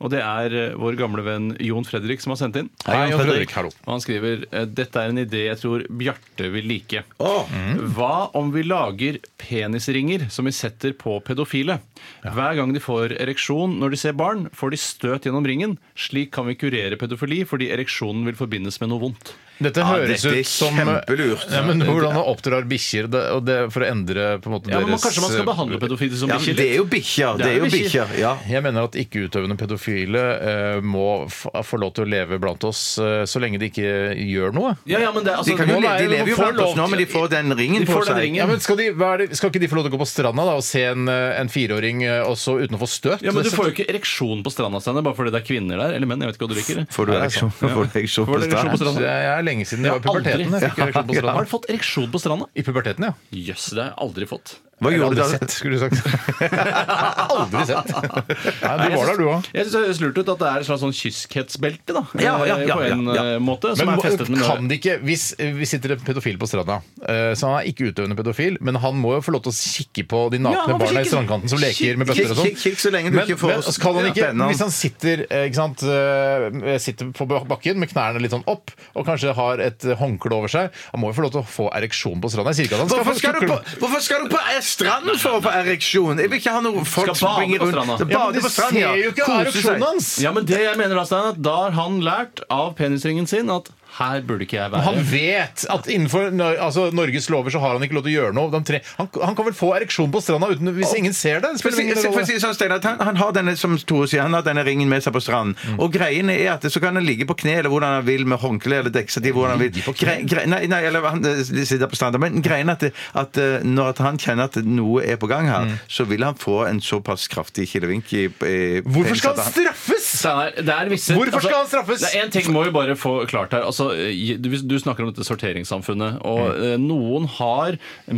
Speaker 3: Og det er eh, vår gamle venn Jon Fredrik som har sendt inn.
Speaker 4: Hei, Jon Fredrik, hallo.
Speaker 3: Og han skriver eh, dette er en idé jeg tror Bjarte vil like.
Speaker 5: Å,
Speaker 3: Hva om vi lager penisringer som vi setter på pedofile? Hver gang de får ereksjon når de ser barn, får de støt gjennom ringen. Slik kan vi kurere pedofili fordi ereksjonen vil forbindes med noe vondt.
Speaker 4: Dette høres
Speaker 5: dette er
Speaker 4: ut som eh,
Speaker 5: kjempelurt.
Speaker 4: Ja, men Hvordan han oppdrar bikkjer det- og det- for å endre på en måte
Speaker 3: Ja, men man-
Speaker 4: deres
Speaker 3: Kanskje man skal behandle pedofile som
Speaker 5: ja,
Speaker 3: bikkjer?
Speaker 5: men det er jo bikkjer. Det er jo bikkjer. Ja.
Speaker 4: Jeg mener at ikke-utøvende pedofile eh, må f få lov til å leve blant oss eh, så lenge de ikke gjør noe.
Speaker 3: Ja, ja, men det, altså,
Speaker 5: De, kan jo,
Speaker 3: nå
Speaker 5: le-
Speaker 3: er
Speaker 5: de
Speaker 3: det-
Speaker 5: lever jo
Speaker 3: får
Speaker 5: blant oss
Speaker 3: lov
Speaker 5: nå,
Speaker 3: til-
Speaker 5: men de får den ringen
Speaker 3: De får
Speaker 5: på
Speaker 3: den
Speaker 5: seg.
Speaker 3: ringen.
Speaker 4: Ja, men skal, de, hva er det, skal ikke de få lov til å gå på stranda da, og se en, eh, en fireåring eh, også uten å få støt?
Speaker 3: Ja, men Du
Speaker 4: Det-
Speaker 3: får jo ikke ereksjon på stranda Steiner, bare fordi det er kvinner der. Eller menn. jeg vet ikke hva du liker.
Speaker 5: Får du ereksjon får du ereksjon
Speaker 3: Får
Speaker 5: på
Speaker 3: du ereksjon på
Speaker 5: stranden?
Speaker 3: stranden?
Speaker 4: Det er lenge siden. Det var i puberteten. Jeg fikk ereksjon på
Speaker 3: Har
Speaker 4: stranda.
Speaker 3: du fått ereksjon på stranda?
Speaker 4: I puberteten, ja.
Speaker 3: Jøss, det har jeg aldri fått.
Speaker 5: Hva
Speaker 4: Eller
Speaker 5: gjorde
Speaker 4: aldri
Speaker 5: du da?
Speaker 4: sett, skulle du sagt. aldri sett. Nei, du var der, du òg.
Speaker 3: Jeg syns det høres lurt ut at det er et slags sånn kyskhetsbelte, da.
Speaker 5: Ja, ja, ja,
Speaker 3: på en
Speaker 5: ja, ja.
Speaker 3: eh, måte. Som
Speaker 4: Men
Speaker 3: er
Speaker 4: hva-
Speaker 3: festet med noe-
Speaker 4: kan det ikke, hvis, hvis sitter en pedofil på stranda eh, Så han er ikke utøvende pedofil, men han må jo få lov til å kikke på de
Speaker 3: Ja,
Speaker 4: nakne
Speaker 3: han får
Speaker 4: barna i
Speaker 3: kikke.
Speaker 4: strandkanten som leker med bøtter og sånn.
Speaker 5: Kikk, kikk, kikk så lenge du
Speaker 4: Men,
Speaker 5: ikke får
Speaker 4: men altså, kan han ikke,
Speaker 5: spennende.
Speaker 4: hvis han sitter, eh, ikke sant, eh, sitter på bak- bakken med knærne litt sånn opp og kanskje har et eh, håndkle over seg, han må jo få lov til å få ereksjon på stranda. Jeg sier ikke at han skal
Speaker 5: Hvorfor
Speaker 4: få
Speaker 5: skal, du på, hvorfor skal du på stranden for å få ereksjon? Jeg vil ikke ha noe folk
Speaker 3: Skal
Speaker 5: som
Speaker 3: bade
Speaker 5: springer
Speaker 3: på
Speaker 5: rundt.
Speaker 3: stranda.
Speaker 5: Skal
Speaker 4: Ja, men
Speaker 5: bade
Speaker 4: de
Speaker 5: på stranden, ja.
Speaker 4: ser jo ikke
Speaker 5: Kose seg.
Speaker 4: ereksjonen hans!
Speaker 3: Ja, men det jeg mener Da Steiner, at da har han lært av penisringen sin at her burde ikke jeg være.
Speaker 4: Han vet at innenfor Nor- altså, Norges lover så har han ikke lov til å gjøre noe. De tre, han, han kan vel få ereksjon på stranda uten, hvis ingen ser det? Det
Speaker 5: For
Speaker 4: spiller
Speaker 5: å si-
Speaker 4: ingen rolle.
Speaker 5: for å si det sånn, Steinar, at han, han har denne som Tore sier, han har denne ringen med seg på stranden.
Speaker 4: Mm.
Speaker 5: Og greien er at så kan han ligge på kne eller hvordan han vil med håndkle eller dekkestativ. hvordan han vil. Gre, gre, nei, nei, eller han eh, sitter på stranden. Men greien er at, det- at eh, når at han kjenner at noe er på gang her,
Speaker 4: Mm.
Speaker 5: så vil han få en såpass kraftig kilevink i, i
Speaker 4: Hvorfor skal
Speaker 5: penis at
Speaker 4: han straffes?!
Speaker 3: Steinar, det er visse, altså,
Speaker 4: Hvorfor skal han straffes?
Speaker 3: Det er en ting må vi bare få klart her. Altså, du, du snakker om dette sorteringssamfunnet. Og
Speaker 4: Mm.
Speaker 3: eh, noen har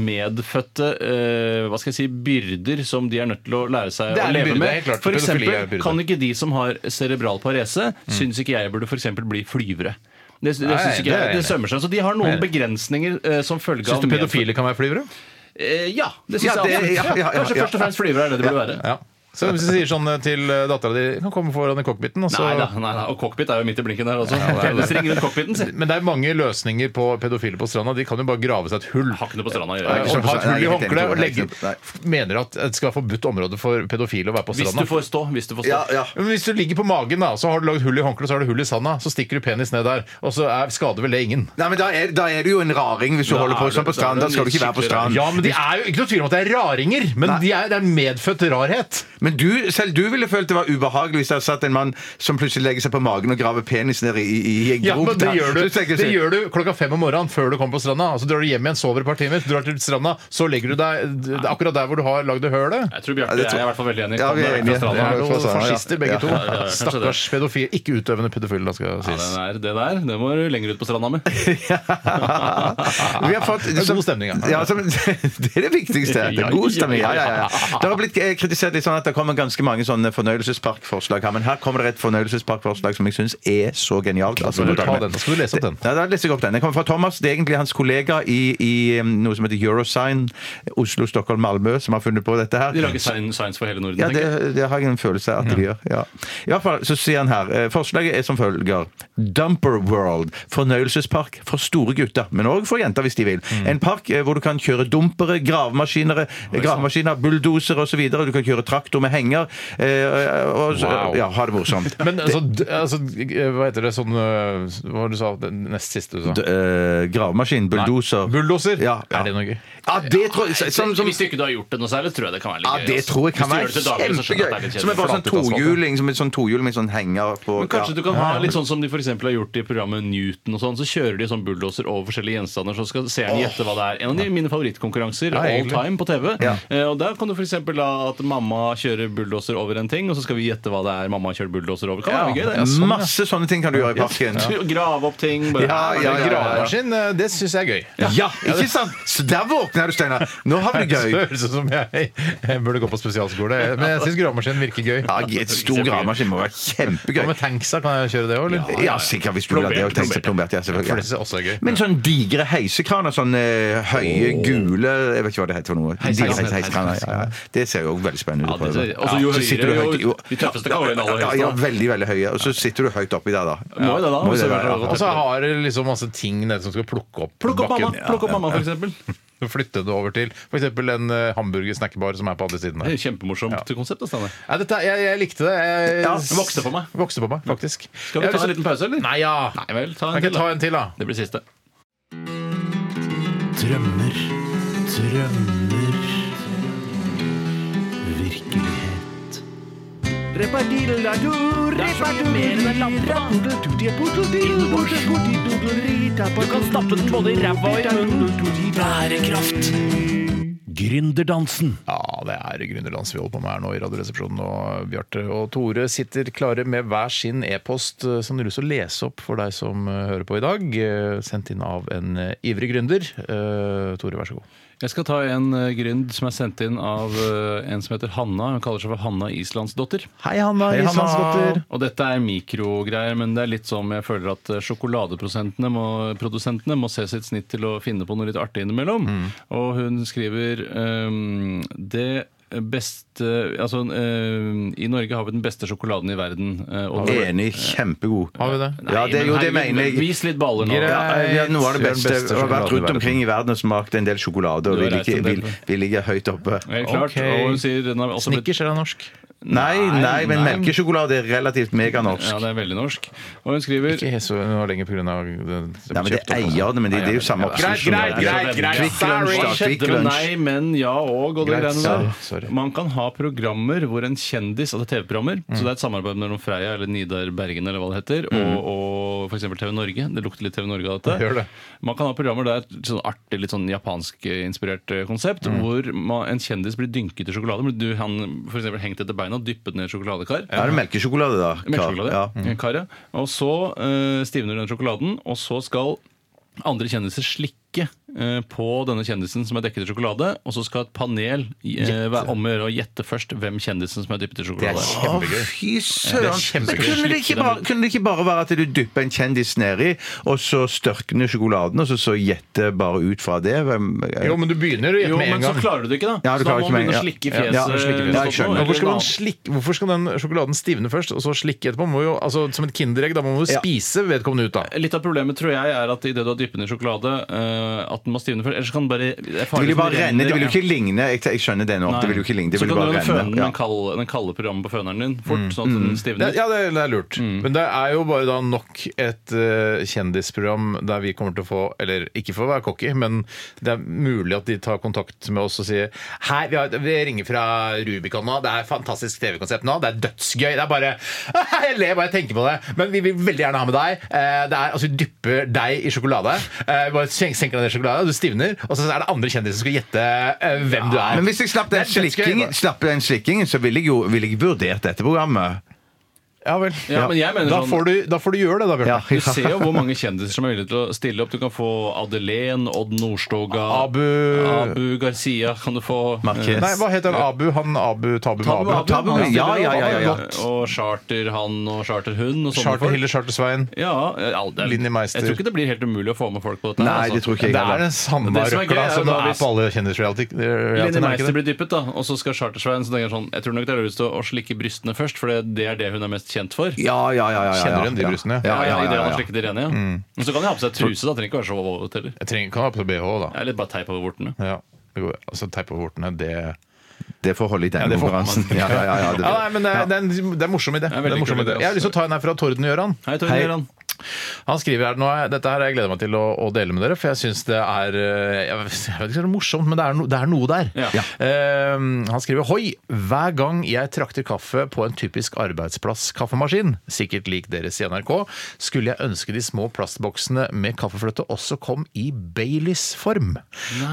Speaker 3: medfødte eh, hva skal jeg si, byrder som de er nødt til å lære seg
Speaker 4: Det er
Speaker 3: å
Speaker 4: en
Speaker 3: leve
Speaker 4: byrde,
Speaker 3: med.
Speaker 4: helt klart.
Speaker 3: For
Speaker 4: Pedofili er en
Speaker 3: eksempel,
Speaker 4: byrde. Mm.
Speaker 3: kan ikke de som har cerebral parese, syns ikke jeg burde for eksempel bli flyvere. Det, det,
Speaker 4: Nei,
Speaker 3: synes
Speaker 4: det er
Speaker 3: ikke
Speaker 4: jeg
Speaker 3: jeg, det
Speaker 4: enig i.
Speaker 3: sømmer seg. Så de har noen begrensninger eh, som følge
Speaker 4: Syns
Speaker 3: av
Speaker 4: du
Speaker 3: medfødte-
Speaker 4: pedofile kan være flyvere?
Speaker 3: Eh, ja, det syns
Speaker 5: Ja,
Speaker 3: jeg.
Speaker 5: det-
Speaker 3: absolutt.
Speaker 5: ja, ja, ja,
Speaker 3: Kanskje
Speaker 5: ja.
Speaker 3: først og fremst flyvere er det det burde være.
Speaker 4: Ja. Så hvis du sier sånn til dattera di kan komme foran i cockpiten, og så
Speaker 3: Nei da, nei da. Og cockpit er jo midt i blinken der altså. også. Penisring rundt cockpiten, si.
Speaker 4: Men det er mange løsninger på pedofile på stranda. De kan jo bare grave seg et hull.
Speaker 3: Har ikke noe på stranda å
Speaker 4: Eh,
Speaker 3: gjøre.
Speaker 5: ikke
Speaker 4: Og
Speaker 5: sant,
Speaker 4: ha et hull i
Speaker 5: nei, jeg er helt
Speaker 4: håndkleet
Speaker 5: enig,
Speaker 4: og legge
Speaker 5: nei.
Speaker 4: Mener du at det skal være forbudt område for pedofile å være på
Speaker 3: Hvis
Speaker 4: stranda?
Speaker 3: du får stå. Hvis du får stå.
Speaker 5: Ja, ja.
Speaker 4: Men Hvis du ligger på magen, da, så har du lagd hull i håndkleet, så har du hull i sanda. Så stikker du penis ned der, og så er, skader vel det ingen.
Speaker 5: Nei, men da er, da er du jo en raring hvis du
Speaker 3: Da
Speaker 5: holder
Speaker 3: er
Speaker 5: på
Speaker 3: du-
Speaker 5: sånn
Speaker 3: da er
Speaker 5: på stranden.
Speaker 3: du
Speaker 5: Da skal du ikke være på
Speaker 3: skikkelig
Speaker 5: stranden.
Speaker 4: Ja, men de er jo ikke noe tvil om at det er raringer, men
Speaker 5: Nei.
Speaker 4: de er, det er medfødt rarhet.
Speaker 5: Men du, selv du ville følt det var ubehagelig hvis det hadde satt en mann som plutselig legger seg på magen og graver penis ned i, i, i en
Speaker 4: Ja,
Speaker 5: grop
Speaker 4: men det
Speaker 5: der.
Speaker 4: gjør,
Speaker 5: Så
Speaker 4: du,
Speaker 5: tenker jeg
Speaker 4: det
Speaker 5: sånn,
Speaker 4: gjør du klokka fem om morgenen før du kommer på stranda. Og så drar du hjem igjen, sover et par timer, drar til stranda, så legger du deg d- d- akkurat der hvor du har lagd det hølet.
Speaker 3: Jeg tror Bjarte
Speaker 5: Ja, det
Speaker 3: og
Speaker 5: tror-
Speaker 3: jeg er i hvert fall veldig enige.
Speaker 5: Ja, vi
Speaker 3: Kom
Speaker 5: er
Speaker 3: deg vekk
Speaker 5: enige.
Speaker 3: fra stranda.
Speaker 4: Det er
Speaker 5: Ja,
Speaker 4: noen
Speaker 5: ja.
Speaker 4: fascister, begge
Speaker 5: Ja,
Speaker 4: to.
Speaker 5: ja,
Speaker 3: ja, kanskje det.
Speaker 4: Stakkars pedofile. Ikke utøvende pedofile, da skal
Speaker 3: Ja,
Speaker 4: sies.
Speaker 3: det der, det der det må du lenger ut på stranda med.
Speaker 5: Vi har fått,
Speaker 4: Det er god stemning, ja.
Speaker 5: ja. som, det er det viktigste. Det er god stemning. Ja, ja, ja. Det har blitt eh, kritisert litt sånn at det kommer ganske mange sånne fornøyelsesparkforslag her, men her kommer det et fornøyelsesparkforslag som jeg syns er så genialt. Altså,
Speaker 4: Skal du ta den? Da skal du lese opp den.
Speaker 5: Ja, da leser jeg opp den. Den kommer fra Thomas. Det er egentlig hans kollega i, i eh, noe som heter Eurosign, Oslo, Stockholm, Malmö, som har funnet på dette her.
Speaker 3: De lager sign- signs for hele Norden.
Speaker 5: Ja,
Speaker 3: tenker jeg.
Speaker 5: det, det har jeg en følelse av at de gjør. Ja. I hvert fall så sier han her eh, Forslaget er som følger. Dumper World. Fornøyelsespark for store gutter, men òg for jenter hvis de vil.
Speaker 3: Mm.
Speaker 5: En park eh, hvor du kan kjøre dumpere, gravemaskiner, eh, gravemaskiner bulldosere osv. Du kan kjøre traktor med henger. eh, Og, så-
Speaker 4: Wow.
Speaker 5: Ja, ha det morsomt.
Speaker 4: Men altså, d- altså, eh, hva heter det sånn eh, Hva var det du sa? Det nest siste du sa?
Speaker 5: D- eh, gravemaskin, bulldoser
Speaker 4: Bulldoser?
Speaker 5: Ja, ja.
Speaker 4: Er det noe gøy?
Speaker 5: Ja, det tror jeg som, som,
Speaker 3: Hvis ikke du har gjort det noe særlig, tror jeg det kan være litt
Speaker 5: ja,
Speaker 3: gøy.
Speaker 5: det
Speaker 3: altså.
Speaker 5: tror jeg kan
Speaker 3: Hvis du gjør det
Speaker 5: være
Speaker 3: til daglig, så skjønner jeg at det er
Speaker 5: kjempegøy!
Speaker 3: litt
Speaker 5: Som er
Speaker 3: kjedelig.
Speaker 5: bare sånn
Speaker 4: Flatet asfalt, ja.
Speaker 5: tohjuling som er sånn tohjuling med sånn henger på
Speaker 3: Men kanskje
Speaker 5: ja.
Speaker 3: du kan ha litt sånn som de for f.eks. har gjort i programmet Newton, og sånn, så kjører de sånn bulldoser over forskjellige gjenstander, så skal seeren gjette hva det er. En av de mine favorittkonkurranser
Speaker 4: Ja,
Speaker 3: all
Speaker 4: egentlig.
Speaker 3: time på TV.
Speaker 5: Ja.
Speaker 3: Eh, og Der kan du f.eks. la at mamma kjører bulldoser over en ting, og så skal vi gjette hva det er mamma har kjørt bulldoser over. Kan være gøy,
Speaker 5: Mm.
Speaker 3: det.
Speaker 5: Masse sånne ting kan du gjøre i parken.
Speaker 3: Ja. Grave opp ting. Bare,
Speaker 5: Ja, ja, ja, ja.
Speaker 4: Gravemaskin, eh, det syns jeg er gøy.
Speaker 5: Ja, ikke sant? Så der våkner du, Steinar. Nå har vi det
Speaker 4: Det
Speaker 5: gøy.
Speaker 4: høres ut som jeg, jeg burde gå på spesialskole, men jeg syns gravemaskin virker gøy.
Speaker 5: Ja, et stor gravemaskin må være
Speaker 4: Hva
Speaker 5: kjempegøy.
Speaker 4: med tanksa, kan jeg kjøre det òg, eller?
Speaker 5: Ja, sikkert. Hvis du vil ha det. og tenke seg Plombert. Ja,
Speaker 4: For det
Speaker 5: selvfølgelig.
Speaker 4: synes jeg også er gøy.
Speaker 5: Men sånn digre heisekraner, sånn eh, høye, gule Jeg vet ikke hva det heter for noe. Digre
Speaker 4: Heisekraner.
Speaker 5: heisekraner, ja, ja. Det ser jo veldig spennende ut.
Speaker 3: Ja, det
Speaker 5: å prøve.
Speaker 3: ser- altså, jo
Speaker 5: Så
Speaker 3: høyere,
Speaker 5: sitter du
Speaker 3: jo-
Speaker 5: høyt-
Speaker 3: de tøffeste kan jo være de aller
Speaker 5: Ja, ja,
Speaker 3: høyeste, da.
Speaker 5: veldig, veldig høye. Og så sitter du høyt oppi der, da.
Speaker 3: Må jo det, da.
Speaker 5: Må jo
Speaker 3: hvis
Speaker 5: det,
Speaker 3: jeg
Speaker 5: da, ja.
Speaker 3: vil-
Speaker 4: Og så har dere liksom masse ting nede som skal plukke opp
Speaker 3: Plukk opp mamma,
Speaker 4: bakken.
Speaker 3: plukk opp mamma, for eksempel.
Speaker 4: Og Flytte det over til f.eks. en eh, hamburger-snackebar som er på andre siden
Speaker 3: Det er
Speaker 4: her.
Speaker 3: jo kjempemorsomt konsept. altså, da, Stanley.
Speaker 4: Nei, dette, jeg, jeg likte det. Jeg,
Speaker 5: Ja,
Speaker 3: vokste på meg. Mm.
Speaker 4: Vokste på meg, faktisk.
Speaker 3: Skal vi ta en liten pause, eller?
Speaker 4: Nei, ja.
Speaker 3: Nei vel, ta en
Speaker 4: Kan ikke
Speaker 3: til,
Speaker 4: jeg ta
Speaker 3: da.
Speaker 4: en til, da?
Speaker 3: Det blir siste.
Speaker 2: Drømmer, drømmer Virkelighet
Speaker 1: Du kan stappe den både i ræva og i munnen. Bærekraft.
Speaker 2: Gründerdansen
Speaker 4: Ja, det er Grünerlands vi holder på med her nå i Radioresepsjonen. Og Bjarte og Tore sitter klare med hver sin e-post eh, som dere vil lese opp for deg som eh, hører på i dag. eh, Sendt inn av en eh, ivrig gründer. Eh, Tore, vær så god.
Speaker 3: Jeg skal ta en eh, gründ som er sendt inn av eh, en som heter Hanna. Hun kaller seg for Hanna Islandsdotter.
Speaker 4: Hei, Hanna. Hei, Islandsdatter.
Speaker 3: Og dette er mikrogreier, men det er litt som jeg føler at eh, sjokoladeprodusentene må, produsentene må se sitt snitt til å finne på noe litt artig innimellom.
Speaker 5: Mm.
Speaker 3: Og hun skriver ehm, det beste Altså, ehm, i Norge har vi den beste sjokoladen i verden. eh, og det-
Speaker 5: Enig. Kjempegod.
Speaker 4: Har vi det?
Speaker 3: Nei,
Speaker 5: Ja,
Speaker 3: men
Speaker 5: det, jo, det
Speaker 3: herregud,
Speaker 5: mener jeg.
Speaker 3: Vis litt baller nå.
Speaker 4: Greit.
Speaker 5: Ja, vi har noe av det
Speaker 4: Vi har den
Speaker 5: beste.
Speaker 4: beste
Speaker 5: Vi har vært
Speaker 4: sjokoladen i
Speaker 5: rundt
Speaker 4: verden.
Speaker 5: omkring i verden og smakt en del sjokolade, og
Speaker 3: Du
Speaker 5: vi
Speaker 3: har reist
Speaker 5: ligger,
Speaker 3: en
Speaker 5: vi,
Speaker 3: del.
Speaker 5: vi ligger høyt oppe.
Speaker 3: Helt klart.
Speaker 4: Ok.
Speaker 3: Og hun sier den har også blitt
Speaker 4: Snickers er da norsk.
Speaker 5: Nei, nei, men
Speaker 3: nei.
Speaker 5: melkesjokolade er relativt meganorsk.
Speaker 3: Ja, det er veldig norsk. Og hun skriver
Speaker 4: Ikke så noe lenger pga. Nei,
Speaker 5: Nei, men det er
Speaker 4: altså.
Speaker 5: eierne, men det, det er jo samme oppskrift. som det er. Kvikk Lunsj, da.
Speaker 3: Hva
Speaker 5: Kvikk
Speaker 3: skjedde med
Speaker 5: Lunsj.
Speaker 3: nei, men ja og og det
Speaker 4: Greit,
Speaker 3: greiene
Speaker 4: sorry,
Speaker 3: der?
Speaker 4: sorry.
Speaker 3: Man kan ha programmer hvor en kjendis Altså TV-programmer.
Speaker 4: Mm.
Speaker 3: Så det er et samarbeid mellom Freia eller Nidar Bergen eller hva det heter, og, og f.eks. TV Norge. Det lukter litt TV Norge av dette.
Speaker 4: Det Mm. gjør det.
Speaker 3: Man kan ha programmer der et sånn artig, litt sånn japanskinspirert eh, konsept,
Speaker 4: Mm.
Speaker 3: hvor man, en kjendis blir dynket i sjokolade. Blir du- Han for eksempel hengt etter beina og dyppet ned i et sjokoladekar.
Speaker 5: Er det melkesjokolade, da? Kar?
Speaker 3: Melkesjokolade.
Speaker 5: Ja.
Speaker 3: Mm. Kar, ja. Og så eh, stivner den sjokoladen, og så skal andre kjendiser slikke eh, på denne kjendisen som er dekket i sjokolade, og så skal et panel eh, være om å gjøre å gjette først hvem kjendisen som er dyppet i
Speaker 4: Det
Speaker 3: sjokolade.
Speaker 4: er
Speaker 5: Å,
Speaker 4: Kjempegøy.
Speaker 5: fy søren! Men
Speaker 4: kjempegøy.
Speaker 5: kunne det, ikke bare, kunne det ikke bare være at du dypper en kjendis nedi, og så størkner sjokoladen, og så, så gjetter bare ut fra det? Hvem,
Speaker 4: Jo, men du begynner å
Speaker 3: Jo,
Speaker 4: gjette med
Speaker 3: men
Speaker 4: en
Speaker 3: så
Speaker 4: gang.
Speaker 3: klarer du det ikke, da.
Speaker 5: Ja,
Speaker 3: så da
Speaker 5: du klarer
Speaker 3: må
Speaker 5: ikke
Speaker 3: man
Speaker 5: med en-
Speaker 3: begynne å
Speaker 5: ja.
Speaker 3: slikke
Speaker 4: Ja,
Speaker 3: fjeset.
Speaker 4: slikke
Speaker 3: eller
Speaker 4: fjeset.
Speaker 5: Ja, jeg skjønner.
Speaker 3: noe,
Speaker 4: Hvorfor skal,
Speaker 3: eller
Speaker 4: man slikke, hvorfor skal den sjokoladen stivne først, og så slikke etterpå? Må jo, altså, som et kinderegg, da må man jo
Speaker 5: Ja.
Speaker 4: spise vedkommende ut, da.
Speaker 3: Litt av problemet tror jeg er at idet du har dyppet den i sjokolade, eh, at den må stivne først. Ellers kan den bare Det er
Speaker 5: Det
Speaker 3: farlig
Speaker 5: vil jo
Speaker 3: for
Speaker 5: bare
Speaker 3: den
Speaker 5: renne. Det
Speaker 3: renner,
Speaker 5: vil jo
Speaker 3: ja.
Speaker 5: ikke ligne. Jeg, jeg skjønner det nå. Det vil jo ikke ligne. Det
Speaker 3: så
Speaker 5: vil
Speaker 3: kan
Speaker 5: jo
Speaker 3: du
Speaker 5: bare
Speaker 3: føne den,
Speaker 5: renne. Ja. Mm.
Speaker 3: kalde- den kalde programmet på føneren din fort, sånn at den stivner.
Speaker 4: Det, ja, det, det er lurt.
Speaker 3: Mm.
Speaker 4: Men det er jo bare da nok et eh, kjendisprogram der vi kommer til å få Eller ikke for å være cocky, men det er mulig at de tar kontakt med oss og sier Hei, vi, har, vi ringer fra Rubicon nå. Det er fantastisk TV-konsept nå. Det er dødsgøy. Det er bare Jeg ler bare jeg tenker på det. Men vi vil veldig gjerne ha med deg. Eh, det er, altså, Vi dypper deg i sjokolade. Eh, bare sen- senker deg ned i sjokolade, og du stivner. Og så er det andre kjendiser som skal gjette eh, hvem du er.
Speaker 5: Men hvis jeg slapp
Speaker 4: Det
Speaker 5: den
Speaker 4: er dødsgøy,
Speaker 5: slikkingen,
Speaker 4: da.
Speaker 5: slapp den slikkingen, så ville jeg jo ville jeg vurdert dette programmet.
Speaker 4: Ja vel.
Speaker 3: Ja, men jeg mener
Speaker 4: da,
Speaker 3: sånn-
Speaker 4: får du, da får du gjøre det, da, Bjørn.
Speaker 5: Ja.
Speaker 3: Du ser jo hvor mange kjendiser som er villige til å stille opp. Du kan få Adelén, Odd Nordstoga,
Speaker 4: Abu-
Speaker 3: Abu Garcia kan du få.
Speaker 5: Marquez.
Speaker 4: Nei, hva heter han? Abu? Han Abu Tabu med
Speaker 3: Tabu,
Speaker 4: Abu?
Speaker 3: Abu,
Speaker 5: Tabu,
Speaker 3: han
Speaker 5: ja,
Speaker 3: stiller
Speaker 5: ja,
Speaker 3: opp.
Speaker 5: ja, ja, ja.
Speaker 3: Og charter han og charter hun og sånne
Speaker 4: Charter
Speaker 3: folk.
Speaker 4: Hille, Charter Svein.
Speaker 3: Ja, ja, det er-
Speaker 4: Linni Meister.
Speaker 3: Jeg tror ikke det blir helt umulig å få med folk på dette. altså.
Speaker 5: Nei, det tror ikke jeg
Speaker 4: Det er
Speaker 5: heller.
Speaker 4: den samme
Speaker 3: Det som er gøy
Speaker 4: røkla
Speaker 3: er jo
Speaker 4: som det
Speaker 3: da
Speaker 4: er
Speaker 3: hvis-
Speaker 4: på alle kjendisreality. eh,
Speaker 3: Linni Meister blir dyppet, da, og så skal Charter-Svein så tenker jeg sånn, Jeg tror nok det er lurest å å slikke brystene først, for det det er det hun er mest kjent for.
Speaker 5: Ja, ja, ja. ja, ja, ja.
Speaker 4: Kjenner du igjen de brystene?
Speaker 5: Ja, ja,
Speaker 3: I det
Speaker 5: ja,
Speaker 3: han
Speaker 5: ja, Mm.
Speaker 3: har
Speaker 5: ja.
Speaker 3: slikket det rene, ja. Men så kan de ha på seg truse, da. Trenger ikke være så våt heller.
Speaker 4: Jeg trenger, kan ha på BH, da.
Speaker 3: Eller bare teip over vortene.
Speaker 4: Ja. det går- Altså, Teip på hortene, det
Speaker 5: Det får holde i
Speaker 4: Ja,
Speaker 5: den
Speaker 4: det får
Speaker 5: konkurransen.
Speaker 4: man.
Speaker 5: Ja, ja, ja, ja, det-
Speaker 4: Ja, nei, men det, er- det, er en- det er morsom idé.
Speaker 3: er en
Speaker 4: Det er
Speaker 3: veldig
Speaker 4: morsom
Speaker 3: kul
Speaker 4: idé.
Speaker 3: idé,
Speaker 4: Jeg har lyst til å ta en her fra Torden Gjøran.
Speaker 3: Hei, Tore
Speaker 5: Hei.
Speaker 3: Gøran.
Speaker 4: Han skriver her, nå er, Dette her har jeg gleder meg til å, å dele med dere, for jeg syns det er eh, Jeg vet jeg vet ikke om det er morsomt, men det er, no, det er noe der.
Speaker 3: Ja.
Speaker 4: Eh, han skriver Hoi! Hver gang jeg trakter kaffe på en typisk arbeidsplass-kaffemaskin, sikkert lik deres i NRK, skulle jeg ønske de små plastboksene med kaffefløte også kom i Baileys-form.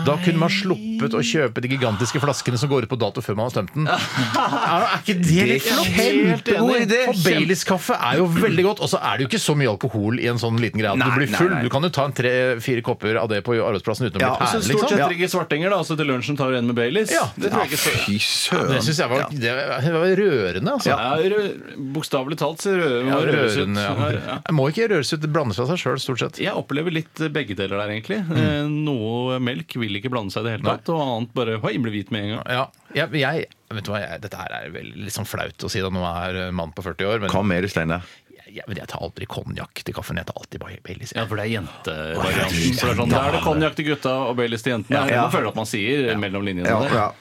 Speaker 4: Da kunne man sluppet å kjøpe de gigantiske flaskene som går ut på dato før man har tømt den. Er, er ikke det litt flott?
Speaker 5: Helt enig.
Speaker 4: For
Speaker 5: Kjempe-
Speaker 4: Baileys-kaffe er jo veldig godt, og så er det jo ikke så mye alkohol i en sånn liten greie. at
Speaker 5: Nei,
Speaker 4: du blir
Speaker 5: nei,
Speaker 4: full.
Speaker 5: nei.
Speaker 4: Du kan jo ta en tre-fire kopper av det på arbeidsplassen uten å
Speaker 5: Ja,
Speaker 4: bli
Speaker 5: og så
Speaker 4: tæren,
Speaker 3: Stort
Speaker 4: liksom.
Speaker 3: sett drikker svartenger, da, og så til lunsjen tar du en med Baileys.
Speaker 4: Ja.
Speaker 3: det tror jeg ikke så
Speaker 5: Fy søren.
Speaker 4: Det syns jeg var, det var rørende, altså.
Speaker 3: ja. rø- eh, Bokstavelig talt så rører
Speaker 4: Ja,
Speaker 3: man røres ut.
Speaker 4: rørende, ja.
Speaker 3: her, ja.
Speaker 4: Det Må ikke røres ut, det blandes fra seg sjøl, stort sett.
Speaker 3: Jeg opplever litt begge deler der, egentlig. Eh, Noe melk vil ikke blande seg i det hele tatt, og annet bare høy, blir hvit med en gang.
Speaker 4: Ja, jeg, jeg, vet du hva, jeg, dette her er veldig litt sånn flaut å si da, nå er jeg en mann på 40 år, men
Speaker 5: Kom med det, Steinar.
Speaker 4: jeg, jeg, men jeg tar aldri konjakk til kaffen. Jeg tar alltid bare Baileys.
Speaker 3: Ja, for det er jentevarianten. Så det er sånn, Da er det konjakk til gutta og Baileys til jentene. Det er det man føler at man sier mellom linjene.
Speaker 5: Ja,
Speaker 3: der.
Speaker 5: ja.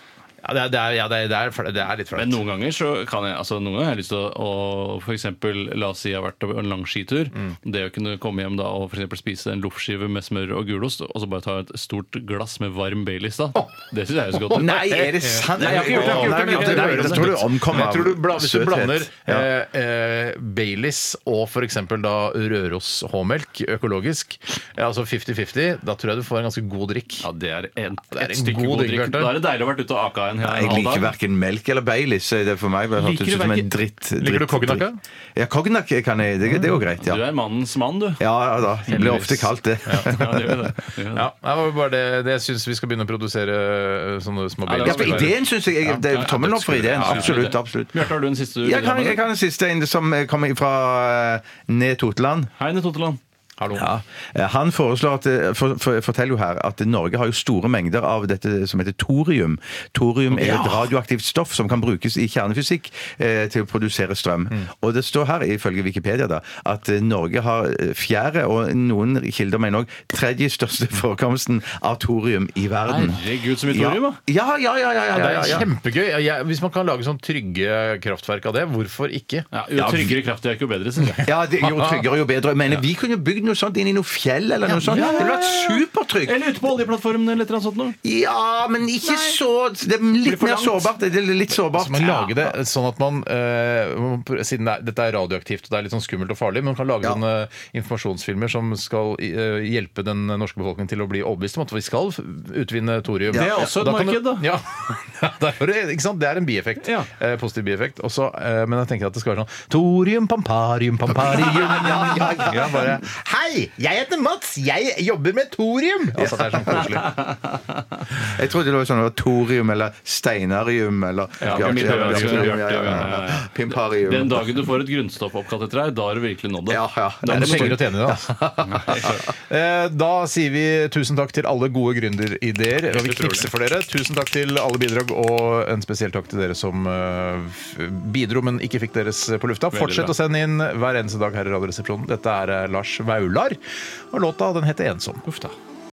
Speaker 4: Ja, det, er- det, er- ja, det, er- det, er fla- det er litt flaut.
Speaker 3: Men noen ganger så kan jeg altså noen ganger har jeg lyst til å, å f.eks. la oss si jeg har vært på en lang skitur.
Speaker 5: Mm.
Speaker 3: Det å kunne komme hjem da og for eksempel spise en loffskive med smør og gulost, og så bare ta et stort glass med varm Baileys, da. Det syns jeg høres godt ut.
Speaker 5: Nei, er det sant?
Speaker 3: Nei, jeg har ikke gjort det, jeg har ikke gjort det, men jeg
Speaker 5: Nei,
Speaker 3: hører om
Speaker 5: jeg
Speaker 3: det.
Speaker 5: tror du omkommer
Speaker 4: Jeg tror du bla-
Speaker 5: av
Speaker 4: hvis du blander
Speaker 5: søthet. Ja.
Speaker 4: eh, eh, Baileys og f.eks. da Røros H-melk, økologisk, eh, altså 50-50, da tror jeg du får en ganske god drikk.
Speaker 3: Ja, det er en,
Speaker 4: Det er
Speaker 3: et
Speaker 4: en
Speaker 3: stykke
Speaker 4: god
Speaker 3: god
Speaker 4: drink,
Speaker 3: drikk.
Speaker 4: Bjarte.
Speaker 3: Da er det deilig å ha vært ute og aka en hel
Speaker 5: Nei, Jeg liker
Speaker 3: dag.
Speaker 5: verken melk eller Baileys. så Det er for meg bare
Speaker 3: Liker
Speaker 5: hørtes
Speaker 3: du
Speaker 5: ut som en
Speaker 3: verken-
Speaker 5: dritt. dritt
Speaker 4: Liker du cognac, da?
Speaker 5: dritt. Ja, cognac kan jeg. Det, det går greit, ja.
Speaker 3: Du er mannens mann, du.
Speaker 5: Ja, ja da. Det blir ofte kalt det.
Speaker 3: Ja, det gjør det. Det gjør det.
Speaker 4: Ja, det var bare det, det jeg syns vi skal begynne å produsere eh, sånne små
Speaker 3: Ja, det
Speaker 5: Ja,
Speaker 4: Baileys.
Speaker 5: for ideen syns jeg, jeg det er Tommelen opp for ideen. Absolutt. absolutt.
Speaker 3: Bjarte, har du en siste du
Speaker 5: Jeg
Speaker 3: vil ha
Speaker 5: kan,
Speaker 3: med
Speaker 5: jeg
Speaker 3: deg?
Speaker 5: kan en siste en som kommer fra eh, Ned Toteland.
Speaker 3: Hei, Nett Totteland.
Speaker 4: Hallo.
Speaker 5: Ja. Eh, Han foreslår at, eh, for, for, forteller jo her at Norge har jo store mengder av dette som heter thorium. Thorium er et radioaktivt stoff som kan brukes i kjernefysikk eh, til å produsere strøm.
Speaker 3: Mm.
Speaker 5: Og det står her, ifølge Wikipedia, da, at eh, Norge har eh, fjerde, og noen kilder mener òg tredje største forekomsten av thorium i verden.
Speaker 3: Herregud, så mye thorium, da.
Speaker 5: Ja, ja, ja. ja, ja,
Speaker 4: Det
Speaker 5: ja, ja,
Speaker 4: er
Speaker 5: ja.
Speaker 4: kjempegøy. Jeg, hvis man kan lage sånn trygge kraftverk av det, hvorfor ikke?
Speaker 3: Ja, jo tryggere kraftverk, jo bedre, synes jeg.
Speaker 5: Ja, det, jo tryggere, jo bedre. Jeg mener, Vi kunne jo bygd noe sånt inn i noe fjell eller noe sånt.
Speaker 3: ja, ja,
Speaker 5: Det ville
Speaker 3: ja,
Speaker 5: vært supertrygt.
Speaker 3: Eller ute på oljeplattformen eller et eller annet sånt noe.
Speaker 5: Ja, men ikke så Det er
Speaker 3: Blir
Speaker 5: litt
Speaker 3: for
Speaker 5: mer
Speaker 3: langt.
Speaker 5: sårbart. Det er litt sårbart.
Speaker 4: Så man lager det sånn at man eh, man pr- Siden det er, dette er radioaktivt og det er litt sånn skummelt og farlig, men man kan lage
Speaker 5: Ja.
Speaker 4: sånne informasjonsfilmer som skal eh, hjelpe den norske befolkningen til å bli overbevist om at vi skal utvinne thorium.
Speaker 5: Det er
Speaker 3: også et
Speaker 4: kan
Speaker 3: marked, da.
Speaker 4: du- Ja, det, er, det- ikke sant? det er en bieffekt.
Speaker 3: Ja.
Speaker 4: Eh, positiv bieffekt. Også, eh, men jeg tenker at det skal være sånn Thorium, pamparium, pamparium ja, ja, ja. bare, Hei, jeg heter Mats, jeg jobber med thorium! Altså, det er sånn koselig.
Speaker 5: Jeg trodde det var sånn det var thorium eller steinarium eller
Speaker 3: Ja,
Speaker 5: Bjarte-
Speaker 3: pimparium,
Speaker 5: Bjarte-
Speaker 3: ja,
Speaker 5: Bjarte-
Speaker 3: ja, ja, ja, ja.
Speaker 5: Pimparium.
Speaker 3: Den dagen du får et grunnstoff oppkalt etter deg, da har du virkelig nådd det.
Speaker 5: Ja, ja.
Speaker 3: Da
Speaker 4: Det er
Speaker 3: må
Speaker 4: penger å
Speaker 3: du stå-
Speaker 4: tjene, da. Eh, Da sier vi tusen takk til alle gode gründerideer. Og vi knipser for dere. Tusen takk til alle bidrag, og en spesiell takk til dere som eh, f- bidro, men ikke fikk deres på lufta. Fortsett
Speaker 3: bra.
Speaker 4: å sende inn hver eneste dag her i Radioresepsjonen. Dette er eh, Lars Vaular, og låta den heter 'Ensom'. Uff da.